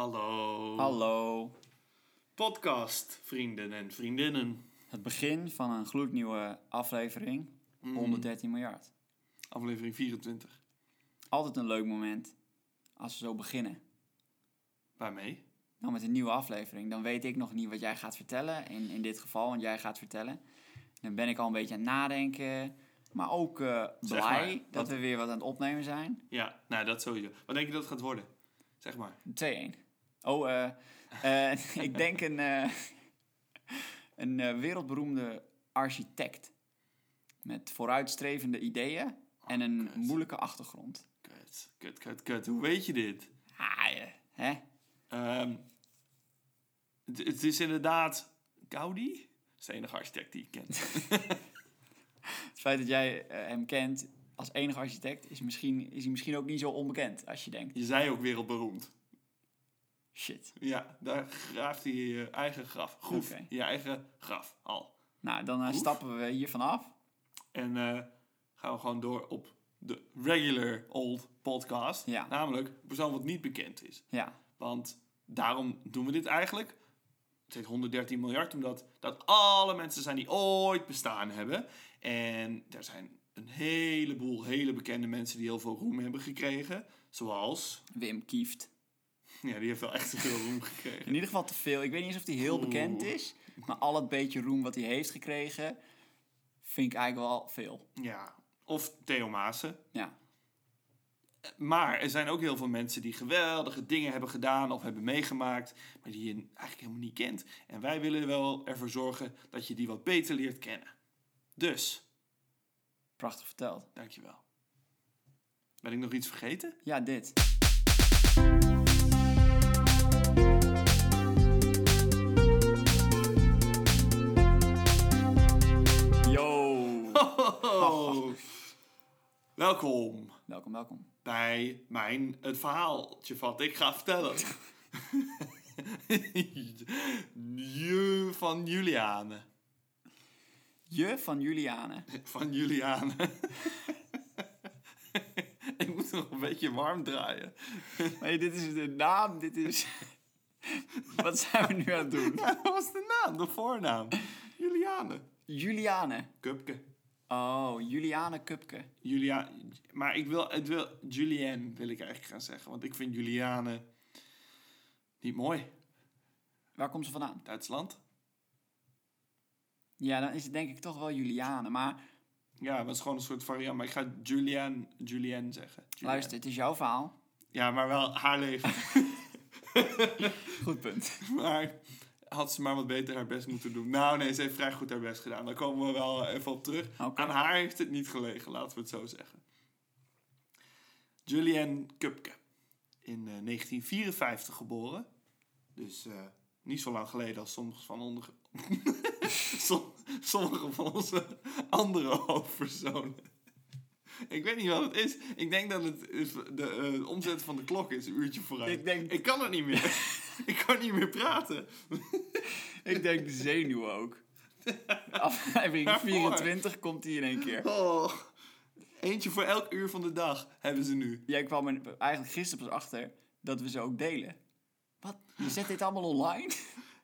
Hallo. Hallo. Podcast, vrienden en vriendinnen. Het begin van een gloednieuwe aflevering. Mm. 113 miljard. Aflevering 24. Altijd een leuk moment als we zo beginnen. Waarmee? Nou, met een nieuwe aflevering. Dan weet ik nog niet wat jij gaat vertellen. In, in dit geval, want jij gaat vertellen. Dan ben ik al een beetje aan het nadenken. Maar ook eh, Zeg blij maar, dat want- we weer wat aan het opnemen zijn. Ja, nou dat sowieso. Wat denk je dat het gaat worden? Zeg maar. 2-1. Oh, eh, eh, ik denk een, eh, een eh, wereldberoemde architect. Met vooruitstrevende ideeën en een Oh, kut. moeilijke achtergrond. Kut, kut, kut, kut. Hoe weet je dit? Haaien, hè? Ehm, het, het is inderdaad Gaudi. Dat is de enige architect die ik ken. Het feit dat jij eh, hem kent als enige architect is, misschien, is hij misschien ook niet zo onbekend als je denkt. Je zei ook wereldberoemd. Shit. Ja, daar graaft hij je eigen graf. Groef. Oké. Je eigen graf al. Nou, dan eh, Oef. stappen we hier vanaf. En eh, gaan we gewoon door op de regular old podcast. Ja. Namelijk een persoon wat niet bekend is. Ja, Want daarom doen we dit eigenlijk. Het heet 113 miljard, omdat dat alle mensen zijn die ooit bestaan hebben. En er zijn een heleboel hele bekende mensen die heel veel roem hebben gekregen. Zoals... Wim Kieft. Ja, die heeft wel echt veel roem gekregen. In ieder geval te veel. Ik weet niet eens of hij heel Oeh. bekend is. Maar al het beetje roem wat hij heeft gekregen, vind ik eigenlijk wel veel. Ja. Of Theo Maassen. Ja, Maar er zijn ook heel veel mensen die geweldige dingen hebben gedaan of hebben meegemaakt, maar die je eigenlijk helemaal niet kent. En wij willen wel ervoor zorgen dat je die wat beter leert kennen. Dus, prachtig verteld. dankjewel. Ben ik nog iets vergeten? Ja, dit. Yo! Welkom Welkom, welkom. bij mijn het verhaaltje van ik ga vertellen. Je van Juliane. Je van Juliane. Van Juliane. ik moet nog een beetje warm draaien. Nee, dit is de naam, dit is... Wat zijn we nu aan het doen? Ja, dat was de naam, de voornaam. Juliane. Juliane. Kupke. Oh, Juliane Kupke. Julia, maar ik wil, het wil, Julianne wil ik eigenlijk gaan zeggen. Want ik vind Juliane niet mooi. Waar komt ze vandaan? Duitsland? Ja, dan is het denk ik toch wel Juliane. Maar Ja, dat is gewoon een soort variant. Maar ik ga Julianne, Julianne zeggen. Julianne. luister, het is jouw verhaal. Ja, maar wel haar leven. Goed punt. maar had ze maar wat beter haar best moeten doen. Nou nee, ze heeft vrij goed haar best gedaan. Daar komen we wel even op terug. Oké. Aan haar heeft het niet gelegen, laten we het zo zeggen. Julianne Kupke. In eh, 1954 geboren. Dus eh, niet zo lang geleden als sommige van, onder... Som- sommige van onze andere hoofdpersonen. Ik weet niet wat het is. Ik denk dat het is de eh, omzet van de klok is, een uurtje vooruit. Ik denk- ik kan het niet meer. ik kan niet meer praten. Ik denk de zenuwen ook. Aflevering Waarvoor? 24 komt hier in één keer. Oh. Eentje voor elk uur van de dag hebben ze nu. Jij kwam er eigenlijk gisteren pas achter dat we ze ook delen. Wat? Je zet dit allemaal online?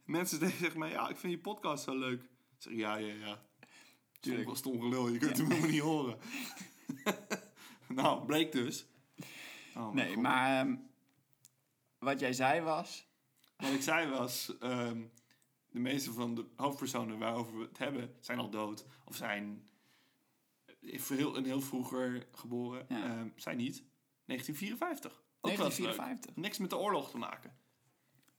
Mensen die zeggen mij, ja, ik vind je podcast zo leuk. Ik zeg, ja, ja, ja. Tuurlijk. Tuurlijk. was stom gelul, je kunt hem helemaal niet horen. nou, bleek dus. Oh, mijn Nee, god. maar ehm, wat jij zei was... Wat ik zei was, ehm, de meeste van de hoofdpersonen waarover we het hebben, zijn al dood. Of zijn heel, een heel vroeger geboren. Ja. Ehm, zij niet. 1954. Ook wel eens leuk. 1954. Niks met de oorlog te maken.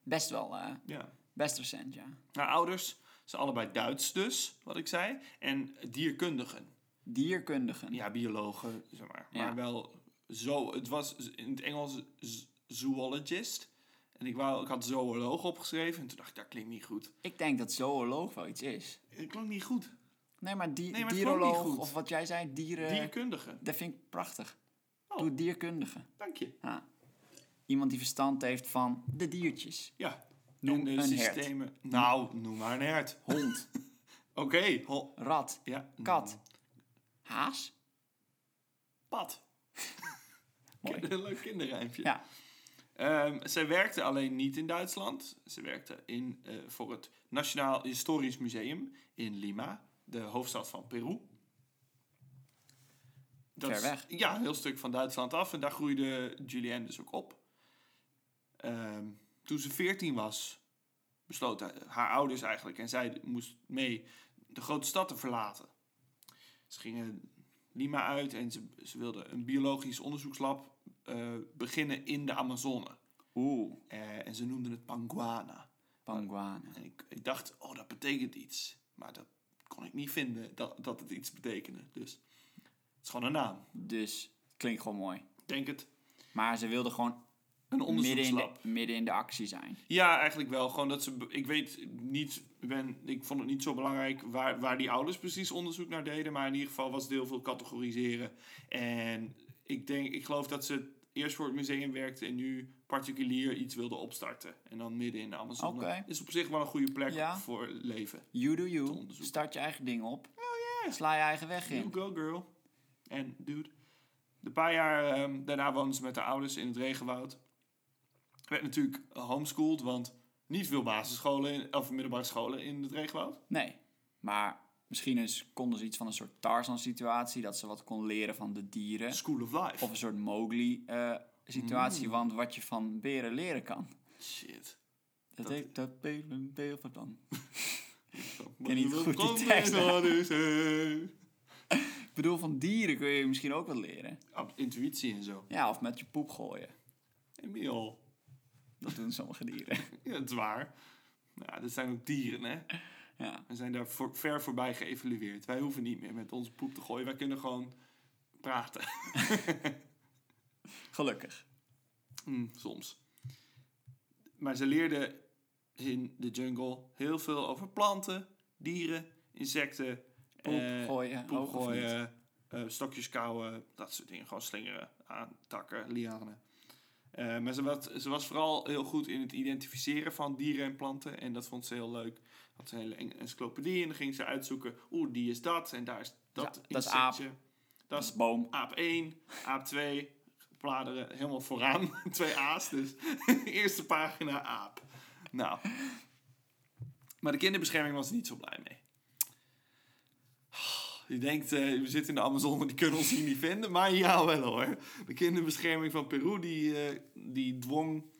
Best wel, eh, Ja. best recent, ja. Haar ouders zijn allebei Duits dus, wat ik zei. En dierkundigen. Dierkundigen. Ja, biologen, zeg maar. Ja. Maar wel zo... Het was z- in het Engels z- zoologist. En ik, wou, ik had zooloog opgeschreven. En toen dacht ik, dat klinkt niet goed. Ik denk dat zooloog wel iets is. Het klonk niet goed. Nee, maar, die, Nee, maar het dieroloog klonk niet goed. of wat jij zei, dieren... Dierkundige. Dat vind ik prachtig. Oh. Doe dierkundige. Dank je. Ja. Iemand die verstand heeft van de diertjes. Ja. Noem En, eh, een hert. systemen. Nou, noem maar een hert. Hond, Oké. ho- rat, Ja. kat, haas. Pad. Mooi. Een leuk kinderrijmpje. Ja, Eh, Ehm, zij werkte alleen niet in Duitsland. Ze werkte in, eh, voor het Nationaal Historisch Museum in Lima, de hoofdstad van Peru. Ver is- weg. ja, een heel stuk van Duitsland af. En daar groeide Julianne dus ook op. Ehm, toen ze 14 was, besloten haar ouders eigenlijk en zij moest mee de grote stad te verlaten. Ze gingen Lima uit en ze, ze wilden een biologisch onderzoekslab eh, beginnen in de Amazone. Oeh, Eh, en ze noemden het Panguana. Panguana. En ik, ik dacht, oh, dat betekent iets. Maar dat kon ik niet vinden, dat, dat het iets betekende. Dus het is gewoon een naam. Dus klinkt gewoon mooi. Ik denk het. Maar ze wilde gewoon Een midden in, de, onderzoekslab. midden in de actie zijn. Ja, eigenlijk wel. Gewoon dat ze. be- Ik weet niet. ik Ben, ik vond het niet zo belangrijk waar, waar die ouders precies onderzoek naar deden. Maar in ieder geval was het heel veel categoriseren. En ik denk, ik geloof dat ze eerst voor het museum werkte en nu particulier iets wilde opstarten. En dan midden in de Amazone. Oké. Is op zich wel een goede plek Ja. voor leven. You do Te you. onderzoeken. Start je eigen ding op. Sla je eigen weg You in. go girl. En dude. De paar jaar ehm, daarna woonden ze met haar ouders in het regenwoud. Werd natuurlijk homeschooled, want niet veel basisscholen in- of middelbare scholen in het regenwoud. Nee. Maar misschien eens, konden ze iets van een soort Tarzan-situatie. Dat ze wat kon leren van de dieren. School of life. Of een soort Mowgli-situatie. Want wat je van beren leren kan. Shit. Dat Dat- ik dat beren deel van dan. Ik ken niet goed die tekst. tekst. Ik bedoel, van dieren kun je misschien ook wat leren. Oh, Intuïtie en zo. Ja, of met je poep gooien. Emiel. Dat doen sommige dieren. Ja, het is waar. Nou, dat zijn ook dieren, hè. Ja. We zijn daar voor- ver voorbij geëvalueerd. Wij hoeven niet meer met onze poep te gooien. Wij kunnen gewoon praten. Gelukkig. Mm, soms. Maar ze leerden in de jungle heel veel over planten, dieren, insecten, Poep eh, gooien. poep ook of niet. gooien, eh, stokjes kauwen, dat soort dingen. Gewoon slingeren aan takken, lianen. Eh, maar ze was, ze was vooral heel goed in het identificeren van dieren en planten. En dat vond ze heel leuk. Had ze een hele en- encyclopedie en dan ging ze uitzoeken. Oeh, die is dat en daar is dat dat is aap. insectje. Dat Dat is is boom. aap 1, aap 2, bladeren helemaal vooraan. Twee A's, dus eerste pagina aap. Nou. Maar de kinderbescherming was er niet zo blij mee. Je denkt, eh, we zitten in de Amazone, die kunnen ons hier niet vinden. Maar ja, wel hoor. De kinderbescherming van Peru, die, eh, die dwong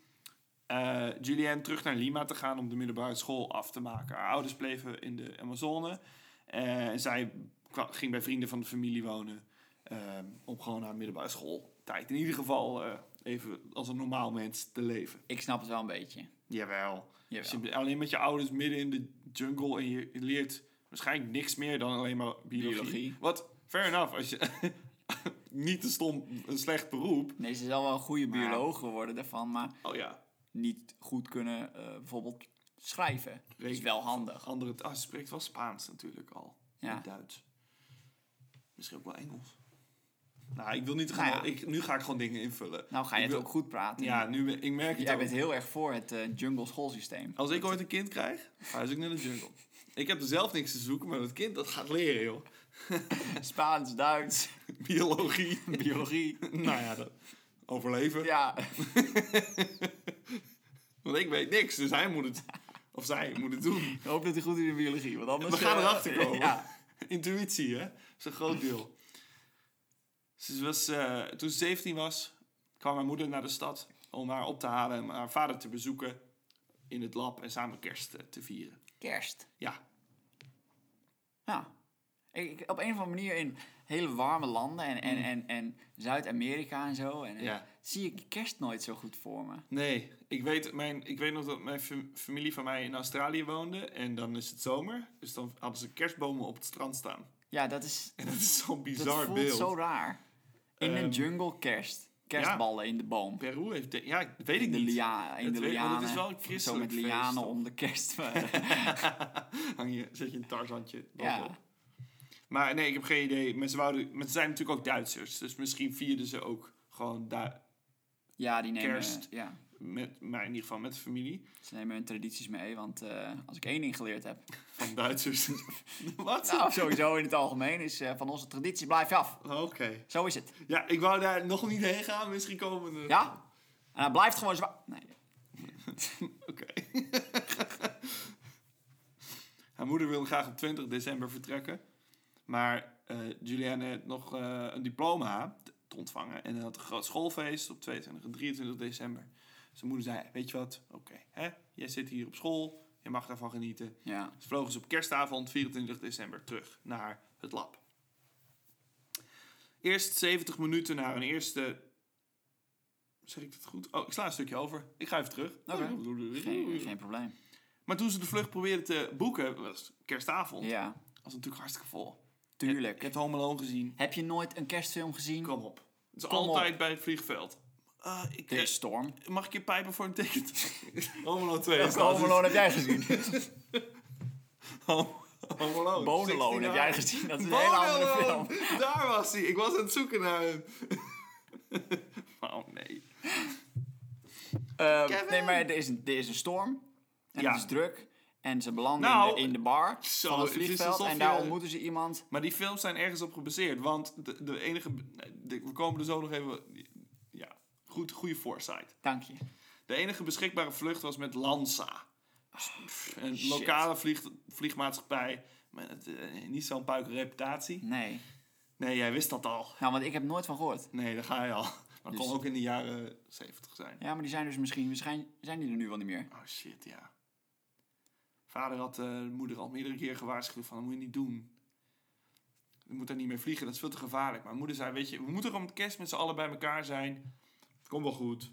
eh Julianne terug naar Lima te gaan om de middelbare school af te maken. Haar ouders bleven in de Amazone. Eh, en zij kwa- ging bij vrienden van de familie wonen. ehm, om gewoon haar middelbare schooltijd in ieder geval eh, even als een normaal mens te leven. Ik snap het wel een beetje. Jawel. Als Jawel. je alleen met je ouders midden in de jungle en je leert waarschijnlijk niks meer dan alleen maar biologie. Biologie. Wat, fair enough, als je... niet een stom, een slecht beroep. Nee, ze zal wel een goede Maar- bioloog geworden daarvan, maar Oh ja, niet goed kunnen eh, bijvoorbeeld schrijven. Dat is wel handig. andere... Ah, ze spreekt wel Spaans natuurlijk al. Ja. En Duits. Misschien ook wel Engels. Nou, ik wil niet... Nou gaan, ja. ik, nu ga ik gewoon dingen invullen. Nou ga je Ik het wil- ook goed praten. Ja, nu, ben- ik merk het Jij ook. bent heel erg voor het eh, jungle schoolsysteem. Als ik ooit een kind krijg, ga ik naar de jungle. Ik heb er zelf niks te zoeken, maar dat kind dat gaat leren, joh. Spaans, Duits, Biologie. biologie. nou ja, dat, overleven. Ja, Want ik weet niks, dus hij moet het... Of zij moet het doen. ik hoop dat hij goed is in biologie, want anders... We gaan eh, erachter komen. Ja, Intuïtie, hè? Dat is een groot deel. Ze was, eh, toen ze 17 was, kwam haar moeder naar de stad om haar op te halen en haar vader te bezoeken in het lab en samen kerst eh, te vieren. kerst. Ja, Ja. Ik, ik- op een of andere manier in hele warme landen en, en, en, en Zuid-Amerika en zo. En, en Mm. Ja. zie ik kerst nooit zo goed voor me. nee. Ik weet, mijn, ik weet nog dat mijn fam- familie van mij in Australië woonde en dan is het zomer, dus dan hadden ze kerstbomen op het strand staan. Ja, dat is... En dat is zo'n Dat bizar voelt beeld. zo raar. In Ehm, een jungle kerst. Kerstballen in de boom. Peru heeft, de- ja, ik weet ik In de, niet. lia, in Het de weet- want lianen. het is wel een zo christelijk met feest, lianen toch? om de kerst. Hang je, zet je een tarzantje Ja. op. Maar nee, ik heb geen idee. Maar ze, wouden, maar ze zijn natuurlijk ook Duitsers. Dus misschien vierden ze ook gewoon daar. ja, die nemen, Oh. eh, Kerst. Ja, Met, maar in ieder geval met de familie ze nemen hun tradities mee. Want eh, als ik één ding geleerd heb... van Duitsers. Wat? Nou, sowieso in het algemeen is eh, van onze traditie blijf je af. Nou, Oké. Zo is het. Ja, ik wou daar nog niet heen gaan. Misschien komen we er. Ja? En hij blijft gewoon zwaar. Nee, Oké. Haar moeder wilde graag op 20 december vertrekken. Maar eh Julianne had nog eh, een diploma te- te ontvangen. En hij had een groot schoolfeest op 22 en 23 december. Zijn moeder zei, weet je wat, oké, hè? jij zit hier op school, je mag daarvan genieten. ja. Dus vlogen ze op kerstavond 24 december terug naar het lab. Eerst 70 minuten naar hun eerste. Zeg ik dat goed? Oh, ik sla een stukje over. Ik ga even terug. Oké. Geen, geen probleem. Maar toen ze de vlucht probeerden te boeken, was kerstavond. Ja, Was het natuurlijk hartstikke vol. Ik tuurlijk. heb Home Alone gezien. Heb je nooit een kerstfilm gezien? Kom op. Het is Kom altijd bij het vliegveld. Eh, ik, De Storm. eh, mag ik je pijpen voor een ticket? Home Alone 2. is dat. Home Alone heb jij gezien. Home Home Alone. Bonelone 69. heb jij gezien. Dat is een hele andere film. Bonelone! Daar was hij. Ik was aan het zoeken naar hem. oh nee. Eh, Kevin! nee, maar er is een, er is een storm. En Ja. het is druk. En ze belanden Nou, in, de, in de bar zo, van het het is vliegveld. alsof En daar je- ontmoeten ze iemand. Maar die films zijn ergens op gebaseerd. Want de, de enige... de- we komen er zo nog even... Ja, goed, goede foresight. Dank je. De enige beschikbare vlucht was met Lanza. Een shit. lokale vlieg, vliegmaatschappij. Met eh, niet zo'n puik reputatie. Nee. Nee, jij wist dat al. Nou, want ik heb nooit van gehoord. Nee, daar ga je al. Dat Dus- kon ook in de jaren zeventig zijn. Ja, maar die zijn dus misschien... Misschien zijn die er nu wel niet meer. Oh shit, ja. Vader had eh, de moeder al meerdere keer gewaarschuwd van, dat moet je niet doen. Je moet daar niet mee vliegen, dat is veel te gevaarlijk. Maar moeder zei, weet je, we moeten gewoon met kerst met z'n allen bij elkaar zijn. Komt wel goed.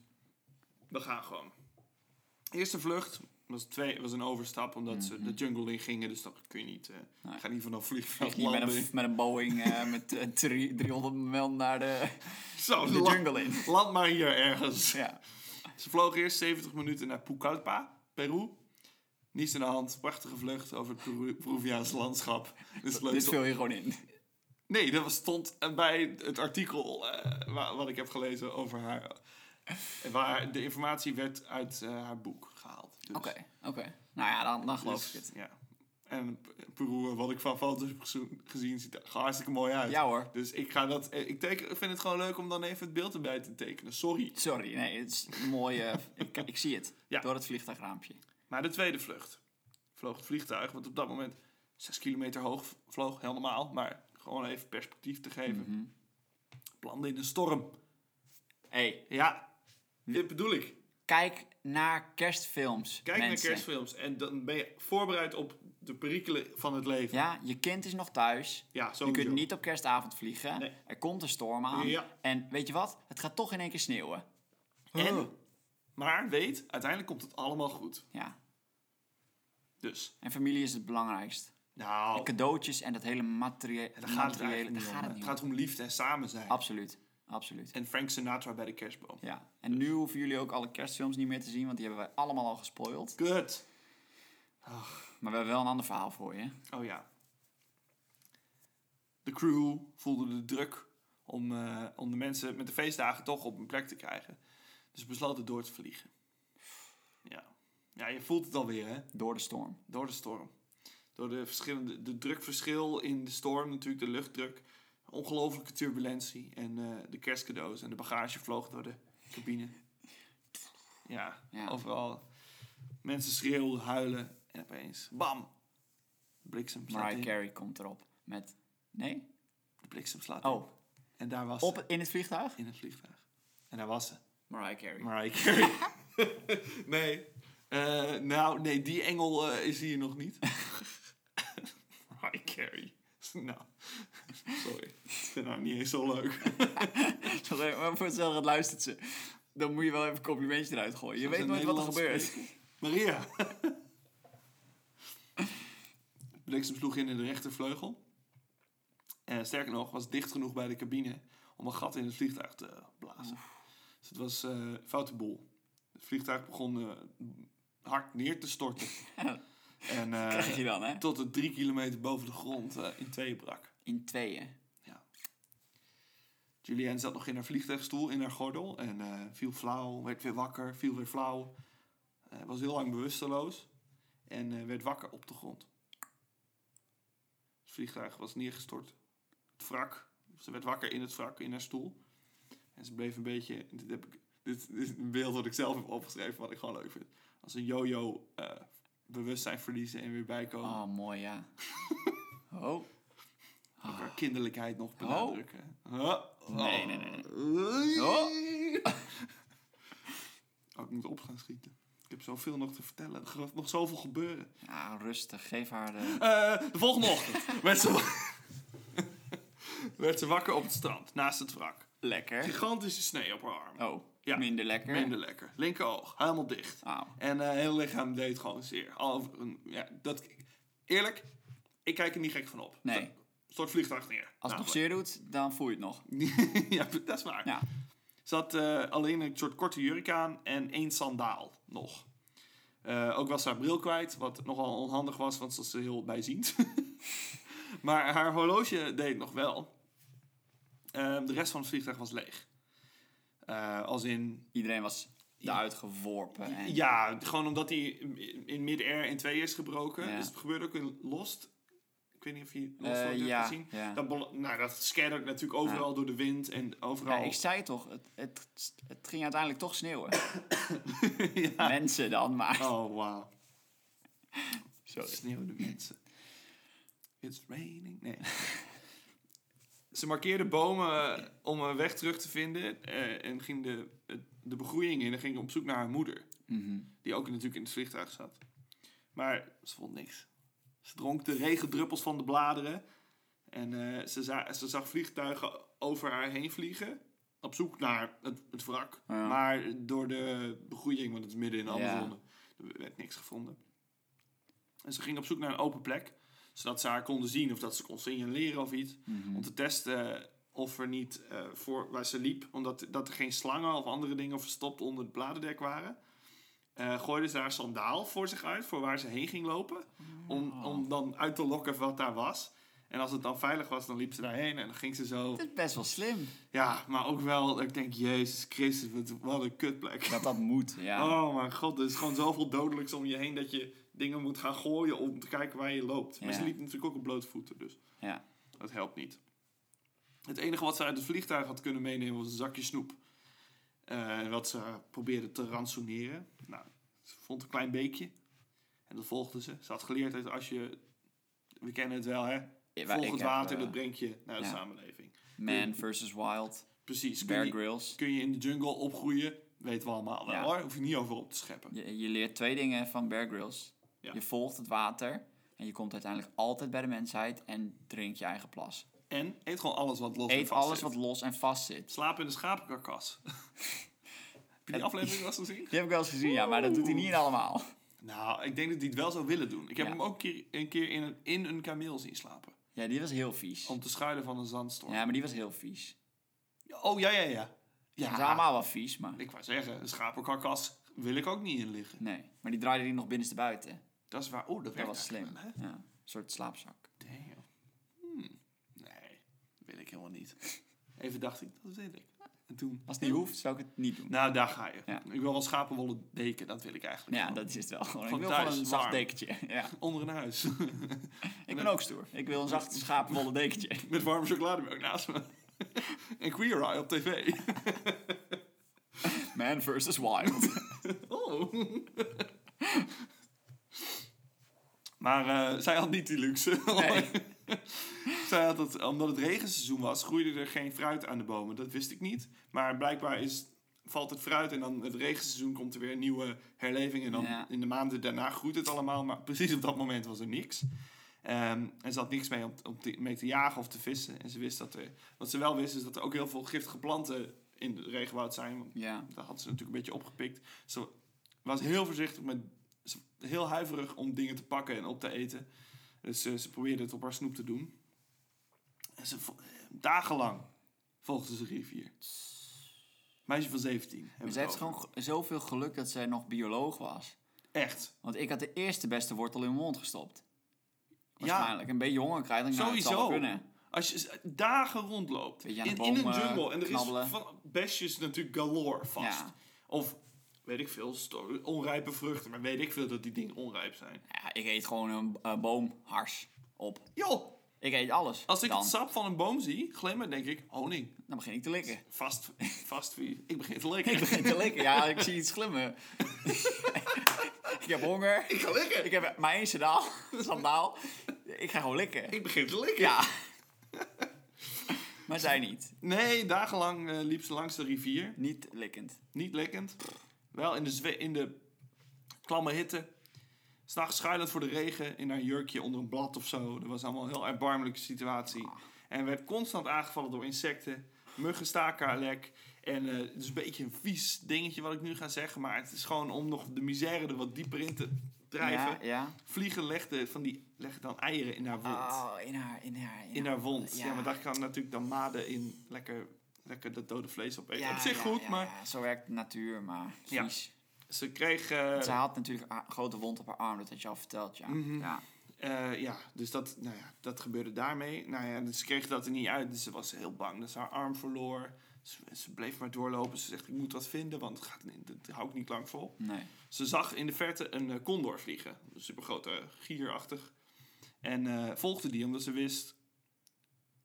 We gaan gewoon. Eerste vlucht was, twee, was een overstap, omdat ze de jungle in gingen. Dus dat kun je niet. eh Mhm. Nee. Ga niet vanaf Ik vliegveld ging met landen. een, met een Boeing eh, met eh, drie- 300 mijl naar de, Zo, de land- jungle in. Land maar hier ergens. Ja. Ze vlogen eerst 70 minuten naar Pucallpa, Peru. Niets aan de hand, prachtige vlucht over het Peru- Peruviaanse landschap. Dus leuk. Dit viel je gewoon in. Nee, dat was- stond eh, bij het artikel eh, wa- wat ik heb gelezen over haar. eh, Waar de informatie werd uit eh, haar boek gehaald. Dus- Oké, oké. Nou ja, dan, dan geloof dus, ik het. Ja. En P- Peru, eh, wat ik van foto's heb gezo- gezien, ziet er hartstikke mooi uit. Ja hoor. Dus ik, ga dat, eh, ik teken, vind het gewoon leuk om dan even het beeld erbij te tekenen. Sorry. Sorry, nee, het is een mooie... ik, ik zie het. Ja. Door het vliegtuigraampje. Maar de tweede vlucht vloog het vliegtuig, want op dat moment 6 kilometer hoog v- vloog, heel normaal, maar gewoon even perspectief te geven. Mhm. Plande in een storm. hey, Ja, dit bedoel ik. kijk naar kerstfilms, Kijk mensen. naar kerstfilms en dan ben je voorbereid op de perikelen van het leven. Ja, je kind is nog thuis. Ja, zo. Je kunt niet op kerstavond vliegen. Nee. Er komt een storm aan. Ja. Oh. En weet je wat? Het gaat toch in één keer sneeuwen. Huh. En, maar weet, uiteindelijk komt het allemaal goed. Ja, Dus, en familie is het belangrijkst. nou, En cadeautjes en dat hele materie daar gaat het materiële... eigenlijk Daar niet om. gaat het Het niet om. eh. gaat om liefde en samen zijn. Absoluut, absoluut. En Frank Sinatra bij de kerstboom. Ja, en Dus- nu hoeven jullie ook alle kerstfilms niet meer te zien, want die hebben wij allemaal al gespoild. Kut. Maar we hebben wel een ander verhaal voor je. Oh ja. De crew voelde de druk om, eh, om de mensen met de feestdagen toch op een plek te krijgen. Dus besloten door te vliegen. Ja. ja, je voelt het alweer, hè? Door de storm. Door de storm. Door de, verschillende, de drukverschil in de storm, natuurlijk de luchtdruk. Ongelooflijke turbulentie. En eh, de kerstcadeaus en de bagage vloog door de cabine. Ja, Ja. overal. Mensen schreeuwden, huilen en opeens, bam! Bliksem slaat Mariah in. Carey komt erop met... Nee? De bliksem slaat in. Oh, En daar was op, ze in het vliegtuig? in het vliegtuig. En daar was ze. Mariah Carey. Mariah Carey. nee. Eh, nou, nee, die engel eh, is hier nog niet. Mariah Carey. nou, sorry. Ik vind haar niet eens zo leuk. Sorry, maar voor hetzelfde geld luistert ze. Dan moet je wel even een complimentje eruit gooien. Je Als weet een nooit wat er Nederlands gebeurt. spreekt. Maria. Bliksem sloeg in in de rechtervleugel. En sterker nog, was het dicht genoeg bij de cabine om een gat in het vliegtuig te blazen. Dus het was eh, een foute boel. Het vliegtuig begon eh, hard neer te storten. en eh, Krijg je dan, hè? tot het drie kilometer boven de grond eh, in tweeën brak. In tweeën. Julianne zat nog in haar vliegtuigstoel, in haar gordel. En eh, viel flauw, werd weer wakker, viel weer flauw. Eh, was heel lang bewusteloos. En eh, werd wakker op de grond. Het vliegtuig was neergestort. Het wrak. Ze werd wakker in het wrak, in haar stoel. En ze bleef een beetje... Dit, heb ik, dit Dit is een beeld wat ik zelf heb opgeschreven, wat ik gewoon leuk vind. Als een yo-yo eh, bewustzijn verliezen en weer bijkomen. Oh, mooi, ja. Oh. Elkaar kinderlijkheid nog benadrukken. Huh? Nee, nee, nee, Oh. Oh, ik moet op gaan schieten. Ik heb zoveel nog te vertellen. Er gaat nog zoveel gebeuren. Ja, rustig. Geef haar de... Eh, de volgende ochtend werd ze, werd ze wakker op het strand, naast het wrak. Lekker. Gigantische snee op haar arm. Oh, Ja. minder lekker. Ah. Minder lekker. Linker oog, helemaal dicht. Au. En eh, heel lichaam deed gewoon zeer. Al, een- ja, dat, eerlijk, ik kijk er niet gek van op. Nee. Stort vliegtuig neer. Nou, Als het nog zeer doet, dan voel je het nog. ja, dat is waar. Ja. Ze had eh, alleen een soort korte jurk aan en één sandaal nog. Eh, ook was ze haar bril kwijt, wat nogal onhandig was, want ze was er heel bijziend. maar haar horloge deed het nog wel. Eh, de rest van het vliegtuig was leeg. Eh, als in Iedereen was eruit geworpen. En... ja, gewoon omdat hij in- in mid-air in twee is gebroken. Ja. Dus het gebeurde ook in Lost. Ik weet niet of je Lost Eh, ooit ja, hebt gezien. ja. Dat, bol- nou, dat scattert natuurlijk overal door de wind en Ja, overal. ik zei toch, het, het, het ging uiteindelijk toch sneeuwen. Ja. Mensen dan, maar... Oh, wauw. Sorry. Sneeuwde mensen. It's raining. Nee. Ze markeerden bomen eh, om een weg terug te vinden eh, en ging de, het- de begroeiing in en ging op zoek naar haar moeder. Mhm. Die ook natuurlijk in het vliegtuig zat. Maar ze vond niks. Ze dronk de regendruppels van de bladeren. En eh, ze, za- ze zag vliegtuigen over haar heen vliegen. Op zoek naar het, het wrak. Ja. Maar door de begroeiing, want het is midden in de Ja. Amazone, er werd niks gevonden. En ze ging op zoek naar een open plek. Zodat ze haar konden zien of dat ze kon signaleren of iets. Mhm. Om te testen of er niet eh, voor waar ze liep, omdat dat er geen slangen of andere dingen verstopt onder het bladerdek waren. eh gooide ze haar sandaal voor zich uit, voor waar ze heen ging lopen. Oh. Om, om dan uit te lokken wat daar was. En als het dan veilig was, dan liep ze daarheen en dan ging ze zo. Het is best wel slim. Ja, maar ook wel, dat ik denk, Jezus Christus, wat, wat een kutplek. Dat dat moet, ja. Oh mijn god, er is gewoon zoveel dodelijks om je heen dat je dingen moet gaan gooien om te kijken waar je loopt. Maar Ja. ze liep natuurlijk ook op blote voeten, dus. ja. Dat helpt niet. Het enige wat ze uit het vliegtuig had kunnen meenemen was een zakje snoep. Eh, wat ze probeerde te ransoneren. Nou, ze vond een klein beekje. En dat volgde ze. Ze had geleerd dat als je... We kennen het wel, hè? Ja, maar Volg ik het heb, water, eh, dat brengt je naar de ja. samenleving. Man versus Wild, Precies. Kun Bear je, Grylls. kun je in de jungle opgroeien? Weten we allemaal wel, Ja. hoor. Hoef je niet over op te scheppen. Je, je leert twee dingen van Bear Grylls. Ja. Je volgt het water en je komt uiteindelijk altijd bij de mensheid en drink je eigen plas. En eet gewoon alles wat los en Eet vast alles zit. wat los en vast zit. Slaap in de schapenkarkas. Heb je die aflevering wel eens gezien? Die heb ik wel eens gezien, ja, maar dat doet hij niet allemaal. Nou, ik denk dat hij het wel zou willen doen. Ik heb Ja. hem ook keer- een keer in een, in een kameel zien slapen. Ja, die was heel vies. Om te schuilen van een zandstorm. Ja, maar die was heel vies. Oh, ja, ja, ja. Ze zijn Ja, allemaal wel vies, maar... ik wou zeggen, een schapenkarkas wil ik ook niet in liggen. Nee, maar die draaide die nog binnenste buiten. Dat is waar. Oh, dat, Dat werkt was slim. eigenlijk wel, hè? Ja, een soort slaapzak. Damn. Hmm. Nee, dat wil ik helemaal niet. Even dacht ik, dat wil ik. En toen... Als het niet hoeft, zou ik het niet doen. Nou, daar ga je. Ja. Ik wil wel schapenwollen deken, dat wil ik eigenlijk. Ja, wel. dat is het wel. Gewoon, ik Gewoon wil thuis, gewoon een zacht warm. dekentje. Ja. Onder een huis. Ik ben ook stoer. Ik wil een zacht schapenwolle dekentje. Met warme chocolademelk naast me. en Queer Eye op tv. Man versus Wild. Oh. maar eh, zij had niet die luxe. Nee. zij had het, omdat het regenseizoen was, groeide er geen fruit aan de bomen. Dat wist ik niet. Maar blijkbaar is, valt het fruit en dan het regenseizoen komt er weer een nieuwe herleving. En dan Ja. in de maanden daarna groeit het allemaal. Maar precies op dat moment was er niks. Ehm, en ze had niks mee om, om te, mee te jagen of te vissen. En ze wist dat er... Wat ze wel wist is dat er ook heel veel giftige planten in het regenwoud zijn. Want Ja. dat had ze natuurlijk een beetje opgepikt. Ze was heel voorzichtig met... ze- Heel huiverig om dingen te pakken en op te eten. Dus eh, ze probeerde het op haar snoep te doen. En ze vo- eh, dagenlang volgde ze rivier. Meisje van 17. hebben Maar we ze het Dus heeft over. gewoon g- zoveel geluk dat zij nog bioloog was. Echt. Want ik had de eerste beste wortel in mijn mond gestopt. Ja, Waarschijnlijk. Een beetje honger krijg ik nou, het zal wel Sowieso. kunnen. als je s- dagen rondloopt. Beetje In, aan de in een bomen jungle. En er knabbelen. is van besjes natuurlijk galore vast. Ja. Of, weet ik veel, sto- onrijpe vruchten. Maar weet ik veel dat die dingen onrijp zijn. Ja, ik eet gewoon een eh, boomhars op. Joh, Ik eet alles. Als ik dan. het sap van een boom zie, glimmen, denk ik honing. dan begin ik te likken. Vast, vast wie. Ik begin te likken. Ik begin te likken. Ja, ik zie iets glimmen. ik heb honger. Ik ga likken. Ik heb maar één sandaal. sandaal. Ik ga gewoon likken. Ik begin te likken. Ja. maar zij niet. Nee, dagenlang eh, liep ze langs de rivier. Niet likkend. Niet lekkend. Wel in de, zwe- in de klamme hitte. S'nachts schuilend voor de regen in haar jurkje onder een blad of zo. Dat was allemaal een heel erbarmelijke situatie. En werd constant aangevallen door insecten. Muggen staken haar lek. En eh, het is een beetje een vies dingetje wat ik nu ga zeggen. Maar het is gewoon om nog de misère er wat dieper in te drijven. Ja, ja. Vliegen legden, van die, legden dan eieren in haar wond. Oh, in haar, in haar, in haar wond. Ja. Ja. maar daar kan natuurlijk dan maden in lekker, lekker dat dode vlees op eten. Ja, op zich ja, goed, ja, maar ja. Zo werkt de natuur, maar Ja. vies. ze kreeg... eh, Want Ze had natuurlijk een grote wond op haar arm, dat had je al verteld, ja. Mhm. ja. Eh, ja, dus dat, nou ja, dat gebeurde daarmee. Nou ja, dus ze kreeg dat er niet uit. Dus ze was heel bang dat ze haar arm verloor. Ze, ze bleef maar doorlopen. Ze zegt, ik moet wat vinden, want het gaat, niet- dat hou ik niet lang vol. Nee. Ze zag in de verte een eh, condor vliegen. Een supergrote gierachtig. En eh, volgde die, omdat ze wist...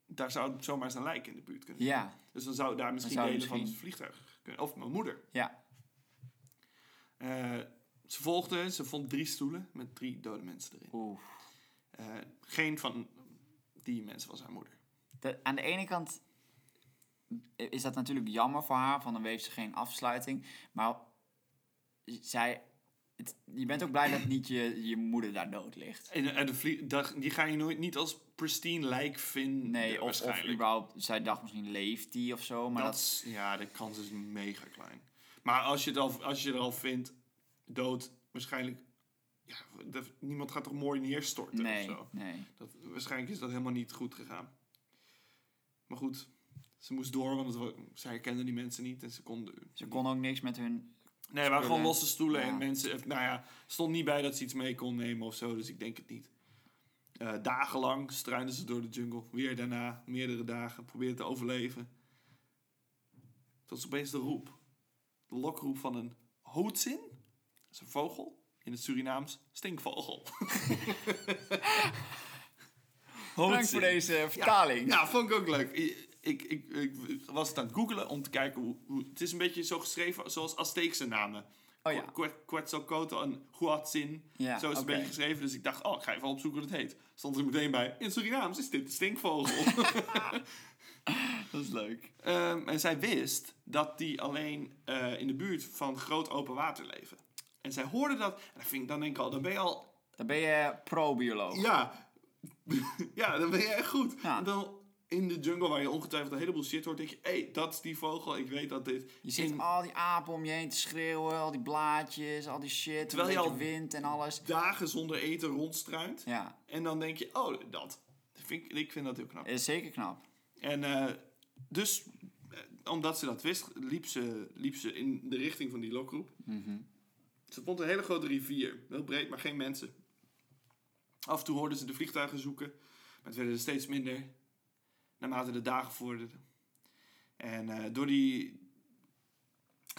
Daar zou zomaar eens een lijk in de buurt kunnen. Ja, Dus dan zou daar misschien zou je delen van het misschien- vliegtuig kunnen. Of mijn moeder. ja. Eh, ze volgde, ze vond drie stoelen met drie dode mensen erin. Oeh. Eh, geen van die mensen was haar moeder. Dat- aan de ene kant is dat natuurlijk jammer voor haar, van dan heeft ze geen afsluiting. Maar zij, het- je bent ook blij dat niet je, je moeder daar dood ligt. En, eh, en de vlie- dag- die ga je nooit niet als pristine lijk vinden. Nee, of, of waarschijnlijk. überhaupt, zij dacht misschien leeft die of zo, maar dat, dat... is- ja, de kans is mega klein. Maar als je het al, als je er al vindt, dood, waarschijnlijk. Ja, de- niemand gaat toch mooi neerstorten Nee, of zo. nee. Dat, waarschijnlijk is dat helemaal niet goed gegaan. Maar goed, ze moest door, want het, wa- zij herkende die mensen niet en ze konden. Ze kon ook niks met hun... Nee, het waren gewoon spullen. losse stoelen en Ja. mensen. eh, Nou ja, stond niet bij dat ze iets mee kon nemen of zo, dus ik denk het niet. Eh, dagenlang struinden ze door de jungle. Weer daarna, meerdere dagen, probeerden te overleven. Tot ze opeens de roep. De lokroep van een hootzin. Dat is een vogel. In het Surinaams stinkvogel. Bedankt voor deze vertaling. Ja, Nou, vond ik ook leuk. Ik, ik, ik, ik was het aan het googelen om te kijken hoe, hoe... Het is een beetje zo geschreven zoals Azteekse namen. Oh ja. Quet- Quetzalcoatl en Huatzin. Ja, zo is het oké. een beetje geschreven. Dus ik dacht, oh, ik ga even opzoeken wat het heet. Stond er meteen bij, in Surinaams is dit de stinkvogel. Dat is leuk. Ehm, en zij wist dat die alleen eh, in de buurt van groot open water leven. En zij hoorde dat. En dan, vind ik, dan denk ik al, dan ben je al... Dan ben je pro-bioloog. Ja, ja dan ben je echt goed. Ja. En dan in de jungle waar je ongetwijfeld een heleboel shit hoort, denk je... Hé, hey, dat is die vogel, ik weet dat dit... Je zit in al die apen om je heen te schreeuwen, al die blaadjes, al die shit, Terwijl een je beetje al- wind en alles. dagen zonder eten rondstruint. Ja, En dan denk je, oh, dat. Vind ik, ik vind dat heel knap. is zeker knap. En eh, dus, eh, omdat ze dat wist, liep ze, liep ze in de richting van die lokroep. Mhm. Ze vond een hele grote rivier. Heel breed, maar geen mensen. Af en toe hoorden ze de vliegtuigen zoeken. Maar het werden er steeds minder. Naarmate de dagen vorderden. En eh, door die...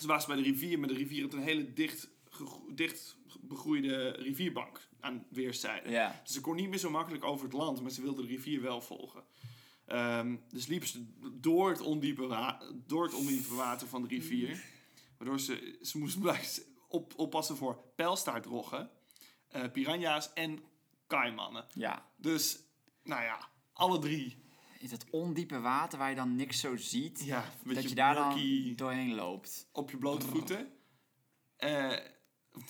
Ze was bij de rivier, maar de rivier had een hele dicht, gegro- dicht begroeide rivierbank aan weerszijden. Ja. Dus ze kon niet meer zo makkelijk over het land, maar ze wilde de rivier wel volgen. Ehm, dus liep ze door het, ondiepe wa- door het ondiepe water van de rivier. Waardoor ze, ze moest blijven op, oppassen voor pijlstaartroggen, eh piranha's en kaimannen. Ja. Dus, nou ja, alle drie. Is dat ondiepe water waar je dan niks zo ziet, Ja, een dat beetje je daar murky dan doorheen loopt. op je Oh. blote voeten. Eh,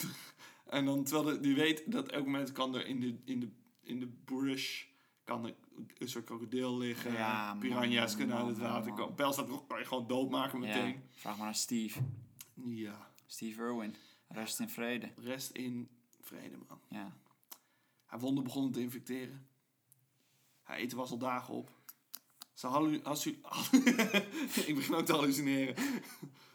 en dan, terwijl de- die weet dat elk moment kan er in de, in de, in de bush kan er een soort krokodil liggen. Ja, man, piranha's kunnen man, uit het man, water man. komen. Pijlstaartroggen kan je gewoon doodmaken Ja. meteen. Vraag maar naar Steve. Ja, Steve Irwin. Rust in vrede. rest in vrede, man. Ja. Haar wonden begonnen te infecteren. Haar eten was al dagen op. Ze hallu- hallu- Ik begin ook te hallucineren.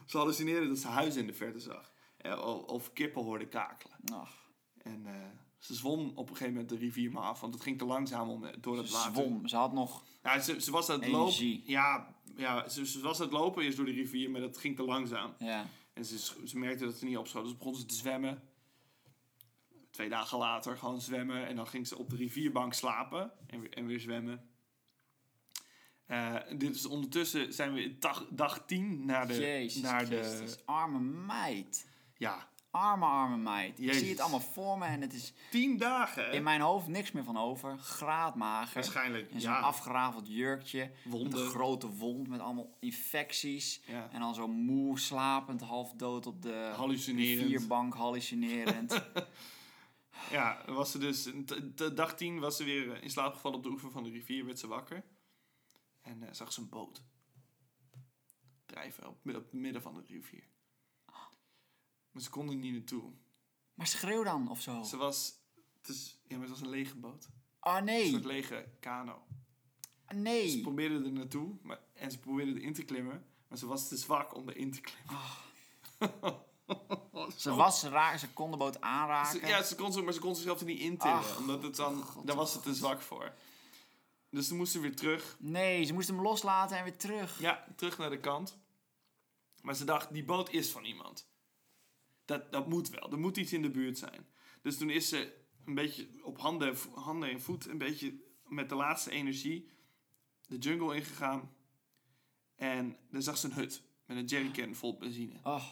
ze hallucineerde dat ze huizen in de verte zag. Eh, o- Of kippen hoorde kakelen. Ach, En eh, ze zwom op een gegeven moment de rivier maar af. Want het ging te langzaam om, eh, door ze het water. zwom. Ze had nog... Ja, ze, ze was aan het Energie. lopen. Ja, ja ze, ze was aan het lopen eerst door de rivier. Maar dat ging te langzaam. Ja. En ze, sch- ze merkte dat ze niet opschoot. Dus begon ze te zwemmen. twee dagen later gewoon zwemmen. En dan ging ze op de rivierbank slapen en weer, en weer zwemmen. Eh, dit is ondertussen zijn we in dag, dag 10 naar de. Jezus naar de Christus, arme meid. ja, Arme, arme meid. Ik Jezus. zie het allemaal voor me en het is 10 dagen. hè? in mijn hoofd niks meer van over. Graadmager. Waarschijnlijk. En zo'n ja, afgerafeld jurkje. Met Wonden. een grote wond met allemaal infecties. Ja. En dan zo moe, slapend, half dood op de Hallucinerend. rivierbank, hallucinerend. Ja, was ze dus, t- t- dag 10 was ze weer eh, in slaap gevallen op de oever van de rivier, werd ze wakker. En eh, zag ze een boot drijven op, op het midden van de rivier. Maar ze kon er niet naartoe. maar schreeuw dan of zo. Ze was, het is, ja, maar het was een lege boot. Oh Een nee, Ah, soort lege kano. Ze nee. probeerde er naartoe maar, en ze probeerde erin te klimmen, maar ze was te zwak om erin te klimmen. Ze was raar, ze kon de boot Ze- aanraken. ja, ze kon zo, maar ze kon zichzelf er niet intillen, Ach, omdat het dan, daar was ze te zwak voor. Dus toen moest ze weer terug Nee, ze moest hem loslaten en weer terug. Ja, terug naar de kant. Maar ze dacht, die boot is van iemand. Dat, dat moet wel. Er moet iets in de buurt zijn. Dus toen is ze een beetje op handen, en vo- handen en voet, een beetje met de laatste energie de jungle ingegaan. En daar zag ze een hut met een jerrycan vol benzine. Oh,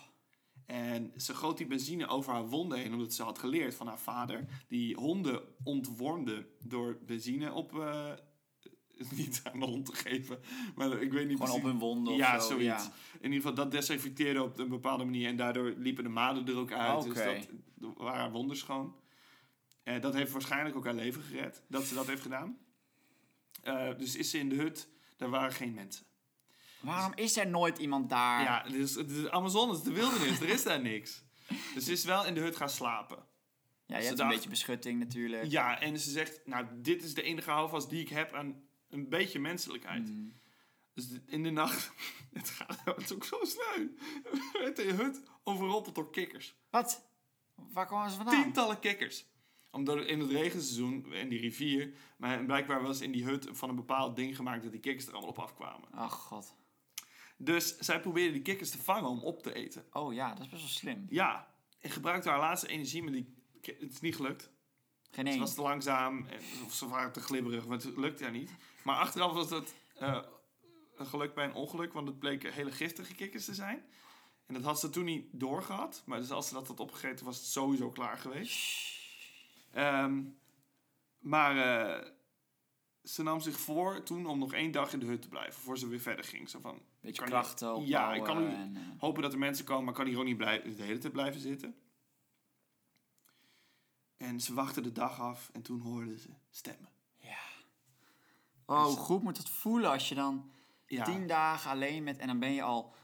En ze goot die benzine over haar wonden heen, omdat ze had geleerd van haar vader, die honden ontwormde door benzine op. eh, niet aan de hond te geven, maar ik weet niet gewoon op hun wonden ja, of zo. zoiets. Ja. In ieder geval, dat desinfecteerde op een bepaalde manier. En daardoor liepen de maden er ook uit. Dus Oké. dat dat waren wonderschoon. Eh, dat heeft waarschijnlijk ook haar leven gered. Dat ze dat heeft gedaan. Eh, dus is ze in de hut. Daar waren geen mensen. Waarom is er nooit iemand daar? Ja, het is, het is Amazon, het is de wildernis. er is daar niks. Dus ze is wel in de hut gaan slapen. Ja, je Ze hebt dacht- een beetje beschutting natuurlijk. Ja, en ze zegt, nou, dit is de enige houvast die ik heb aan een beetje menselijkheid. Mhm. Dus de- in de nacht, het gaat het is ook zo snel. werd de hut overrompeld door kikkers. Wat? Waar kwamen ze vandaan? Tientallen kikkers. Omdat het in het regenseizoen, in die rivier, maar blijkbaar was in die hut van een bepaald ding gemaakt dat die kikkers er allemaal op afkwamen. Ach Oh, god. Dus zij probeerde die kikkers te vangen om op te eten. Oh ja, dat is best wel slim. Ja, en gebruikte haar laatste energie, maar die, het is niet gelukt. Geen Ze één. was te langzaam, en- of ze waren te glibberig, maar het lukte haar niet. Maar achteraf was dat eh, een geluk bij een ongeluk, want het bleken hele giftige kikkers te zijn. En dat had ze toen niet doorgehad, maar dus als ze dat had opgegeten, was het sowieso klaar geweest. Ehm, maar eh, ze nam zich voor toen om nog één dag in de hut te blijven, voor ze weer verder ging. Zo van, Beetje kan niet- krachten opbouwen. Ja, ik kan nu- en, eh, hopen dat er mensen komen, maar kan hier ook niet blij- de hele tijd blijven zitten. En ze wachtte de dag af en toen hoorden ze stemmen. ja. Oh, goed moet dat voelen als je dan Dus- Ja, tien dagen alleen met... En dan ben je al...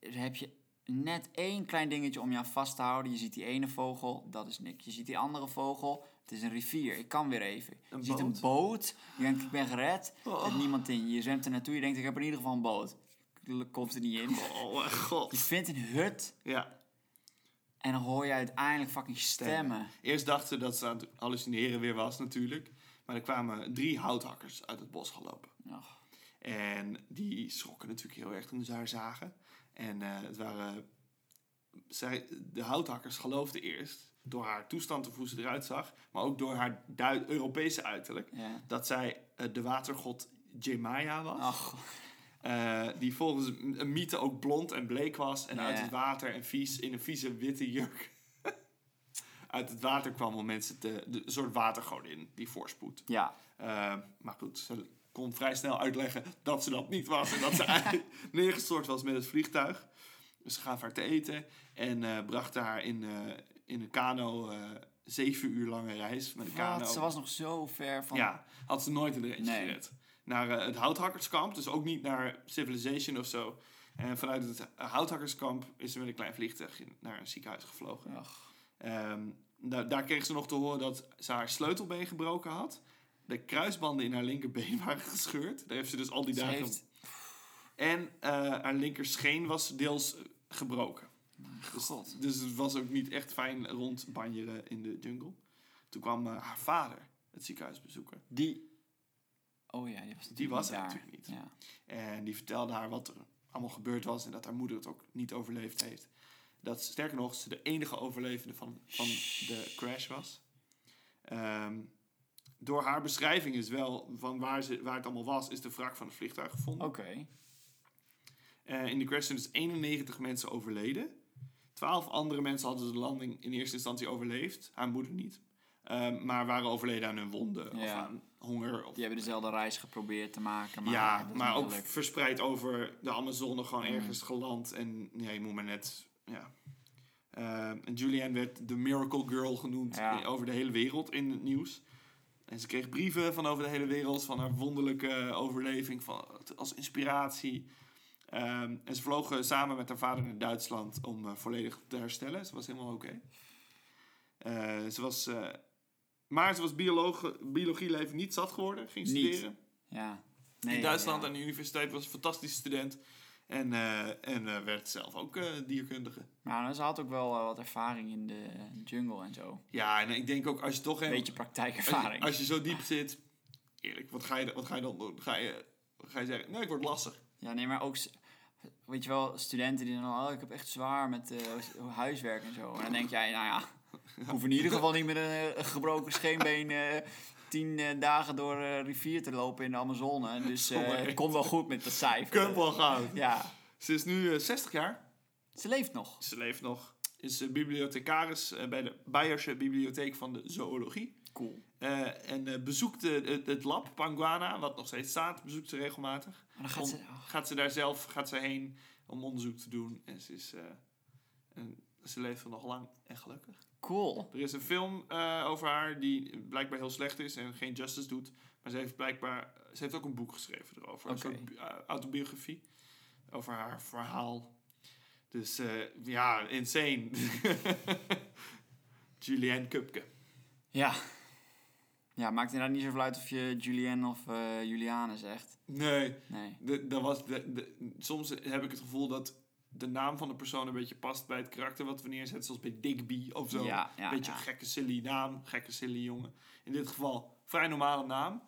Heb je net één klein dingetje om je aan vast te houden. Je ziet die ene vogel, dat is niks. Je ziet die andere vogel, het is een rivier. Ik kan weer even. Een Oh. je ziet een boot. Je denkt, ik ben gered. Er zit niemand in. Je zwemt er naartoe. Je denkt, ik heb er in ieder geval een boot. Komt er niet in. oh mijn god. Je vindt een hut. Ja. En dan hoor je uiteindelijk fucking stemmen. Eerst dachten ze dat ze aan het hallucineren weer was natuurlijk. Maar er kwamen drie houthakkers uit het bos gelopen. Ach, En die schrokken natuurlijk heel erg toen ze haar zagen. En eh, het waren... Zij, de houthakkers geloofden eerst, door haar toestand of hoe ze eruit zag... maar ook door haar Dui- Europese uiterlijk... ja. Oh. dat zij eh, de watergod Jemaya was. Ach, Eh, die volgens m- een mythe ook blond en bleek was. En Ja. uit het water en vies, in een vieze witte jurk. uit het water kwam om mensen te... De, een soort watergodin die voorspoed. ja. Eh, maar goed, ze kon vrij snel uitleggen dat ze dat niet was. En dat ze eigenlijk neergestort was met het vliegtuig. Dus ze gaf haar te eten. En eh brachten haar in, eh, in een kano... eh, zeven uur lange reis met een kano. Wat? Ze was nog zo ver van... Ja, had ze nooit in de range Nee. gered. Naar eh, het houthakkerskamp, dus ook niet naar Civilization of zo. En vanuit het houthakkerskamp is ze met een klein vliegtuig in- naar een ziekenhuis gevlogen. Ach, Ehm, da- daar kreeg ze nog te horen dat ze haar sleutelbeen gebroken had. De kruisbanden in haar linkerbeen waren gescheurd. Daar heeft ze dus al die ze dagen... heeft... En eh, haar linkerscheen was deels eh, gebroken. God. Dus het was ook niet echt fijn rondbanjeren in de jungle. Toen kwam eh, haar vader het ziekenhuis bezoeken. Die... Oh ja, die was natuurlijk was niet er daar. natuurlijk niet. Ja. En die vertelde haar wat er allemaal gebeurd was en dat haar moeder het ook niet overleefd heeft. Dat sterker nog, ze de enige overlevende van, van de crash was. Ehm, door haar beschrijving is wel van waar, ze, waar het allemaal was, is de wrak van het vliegtuig gevonden. Oké. Eh, in de crash zijn dus 91 mensen overleden. 12 andere mensen hadden de landing in eerste instantie overleefd. Haar moeder niet. Ehm, maar waren overleden aan hun wonden of Ja. aan honger. Of, Die hebben dezelfde reis geprobeerd te maken. Maar ja, dat is maar niet ook gelukt. verspreid over de Amazone gewoon Mm. ergens geland. En ja, je moet maar net... Ja. Ehm, en Julianne werd de Miracle Girl genoemd Ja. in- over de hele wereld in het nieuws. En ze kreeg brieven van over de hele wereld van haar wonderlijke overleving van, als inspiratie. Ehm, en ze vlogen samen met haar vader naar Duitsland om eh, volledig te herstellen. Ze was helemaal oké. Eh, ze was... eh, maar ze was bioloog, biologieleven niet zat geworden. Ging Niet. studeren Ja. Nee, in Duitsland ja. aan de universiteit was een fantastische student. En, eh, en eh, werd zelf ook eh, dierkundige. Maar ze had ook wel eh, wat ervaring in de jungle en zo. Ja, en ik denk ook als je toch... Een een beetje praktijkervaring. Als je, zo diep zit... Eerlijk, wat ga je, wat ga je dan doen? Ga je, ga je zeggen, nee, ik word lastig. Ja, nee, maar ook... s- Weet je wel, studenten die dan... al, Oh, ik heb echt zwaar met eh, huiswerk en zo. En dan denk jij, nou ja... Ik hoef in ieder geval niet met een eh, gebroken scheenbeen... eh, tien eh, dagen door eh, rivier te lopen in de Amazone. Dus eh, Jongen, het echt. komt wel goed met dat cijfer. Kunt wel gaan. Ja. Ze is nu eh, 60 jaar. Ze leeft nog. Ze leeft nog. Is eh, bibliothecaris eh, bij de Beierse Bibliotheek van de Zoologie. Cool. Eh, en eh, bezoekt eh, het, het lab Panguana, wat nog steeds staat, bezoekt ze regelmatig. Maar dan gaat Om- ze... oh, gaat ze daar zelf gaat ze heen om onderzoek te doen. En ze, is, eh, en ze leeft nog lang en gelukkig. cool. Er is een film eh, over haar die blijkbaar heel slecht is en geen justice doet. Maar ze heeft blijkbaar... Ze heeft ook een boek geschreven erover. Oké. Een soort bi- eh, autobiografie over haar verhaal. Dus eh, ja, insane. Julianne Kupke. Ja. Ja, maakt inderdaad niet zoveel uit of je Julianne of eh, Juliane zegt. Nee, Nee. De, dat was de, de- soms heb ik het gevoel dat de naam van de persoon een beetje past bij het karakter wat we neerzetten, zoals bij Digby of zo. Ja, ja, beetje ja. gekke silly naam, gekke silly jongen. In dit geval vrij normale naam.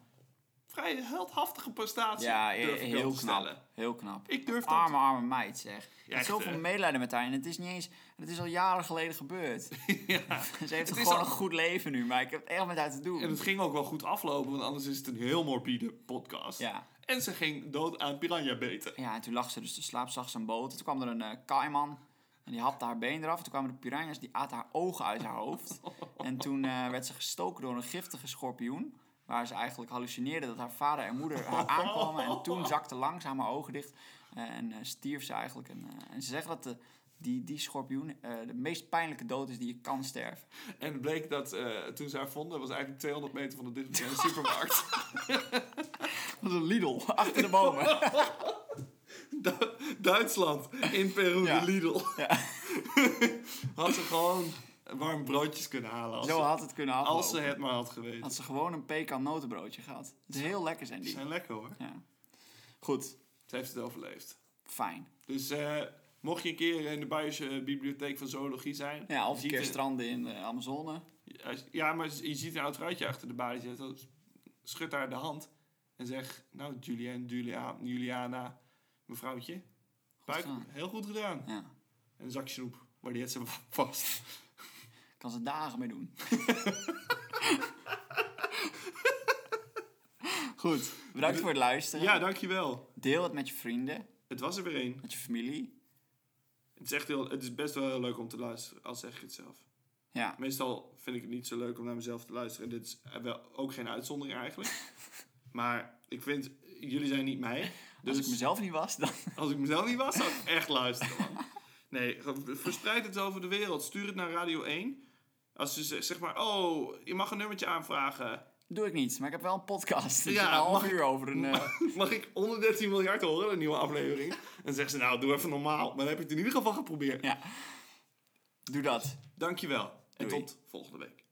Vrij heldhaftige prestatie. Ja, durf ik he- wel heel te knap. stellen. Heel knap. Ik durf dat. Arme, arme meid zeg. Ja, Ja, echt, zoveel eh. medelijden met haar. En het is niet eens... Het is al jaren geleden gebeurd. ja. Ze heeft is gewoon al- een goed leven nu. Maar ik heb echt met haar te doen. En het ging ook wel goed aflopen, want anders is het een heel morbide podcast. Ja. En ze ging dood aan piranha beten. ja, en toen lag ze dus te slaap. Zag ze een boot. En toen kwam er een eh, kaiman. En die hapte haar been eraf. En toen kwamen de piranhas. Die aten haar ogen uit haar hoofd. En toen eh, werd ze gestoken door een giftige schorpioen. Waar ze eigenlijk hallucineerde dat haar vader en moeder haar aankwamen. En toen zakte langzaam haar ogen dicht. eh, en eh, stierf ze eigenlijk. En, eh, en ze zeggen dat de, die, die schorpioen eh, de meest pijnlijke dood is die je kan sterven. En het bleek dat eh, toen ze haar vonden, was eigenlijk 200 meter van de dichtstbijzijnde supermarkt. Dat is een Lidl, achter de bomen. Du- Duitsland, in Peru, Ja. de Lidl. Ja. had ze gewoon warm broodjes kunnen halen. Als, Zo ze, had het kunnen aflopen. als ze het maar had geweten. Had ze gewoon een pekan notenbroodje gehad. Het is heel lekker zijn Die die. zijn lekker hoor. Ja. Goed, Ze heeft het overleefd. fijn. Dus eh, mocht je een keer in de Buijse bibliotheek van zoologie zijn. Ja, of je een keer ziet stranden in de Amazone. een- als- Ja, maar je ziet een oud vrouwtje achter de balie zitten. Schud haar de hand en zeg... Nou, Julian, Julia, Juliana, mevrouwtje. Buik, gedaan. heel goed gedaan. Ja. En een zak snoep. Maar die had ze vast. Kan ze dagen mee doen. Goed, bedankt voor het luisteren. Ja, dankjewel. Deel het met je vrienden, Het was er weer één. met je familie. Het is, echt heel, het is best wel heel leuk om te luisteren, al zeg ik het zelf. Ja, Meestal vind ik het niet zo leuk om naar mezelf te luisteren. Dit is wel ook geen uitzondering eigenlijk. maar ik vind, jullie zijn niet mij. Dus als ik mezelf niet was, dan... mezelf niet was, zou ik echt luisteren. Man. Nee, ge- verspreid het over de wereld. Stuur het naar Radio 1. Als je ze- zeg maar, oh, je mag een nummertje aanvragen. doe ik niet. Maar ik heb wel een podcast. Dus Ja, ja, een half mag- uur over een... eh, Mag ik 113 miljard horen, een nieuwe aflevering? Dan zeggen ze, nou, doe even normaal. Maar dan heb je het in ieder geval geprobeerd. ja. Doe dat. Dankjewel. En Doei. tot volgende week.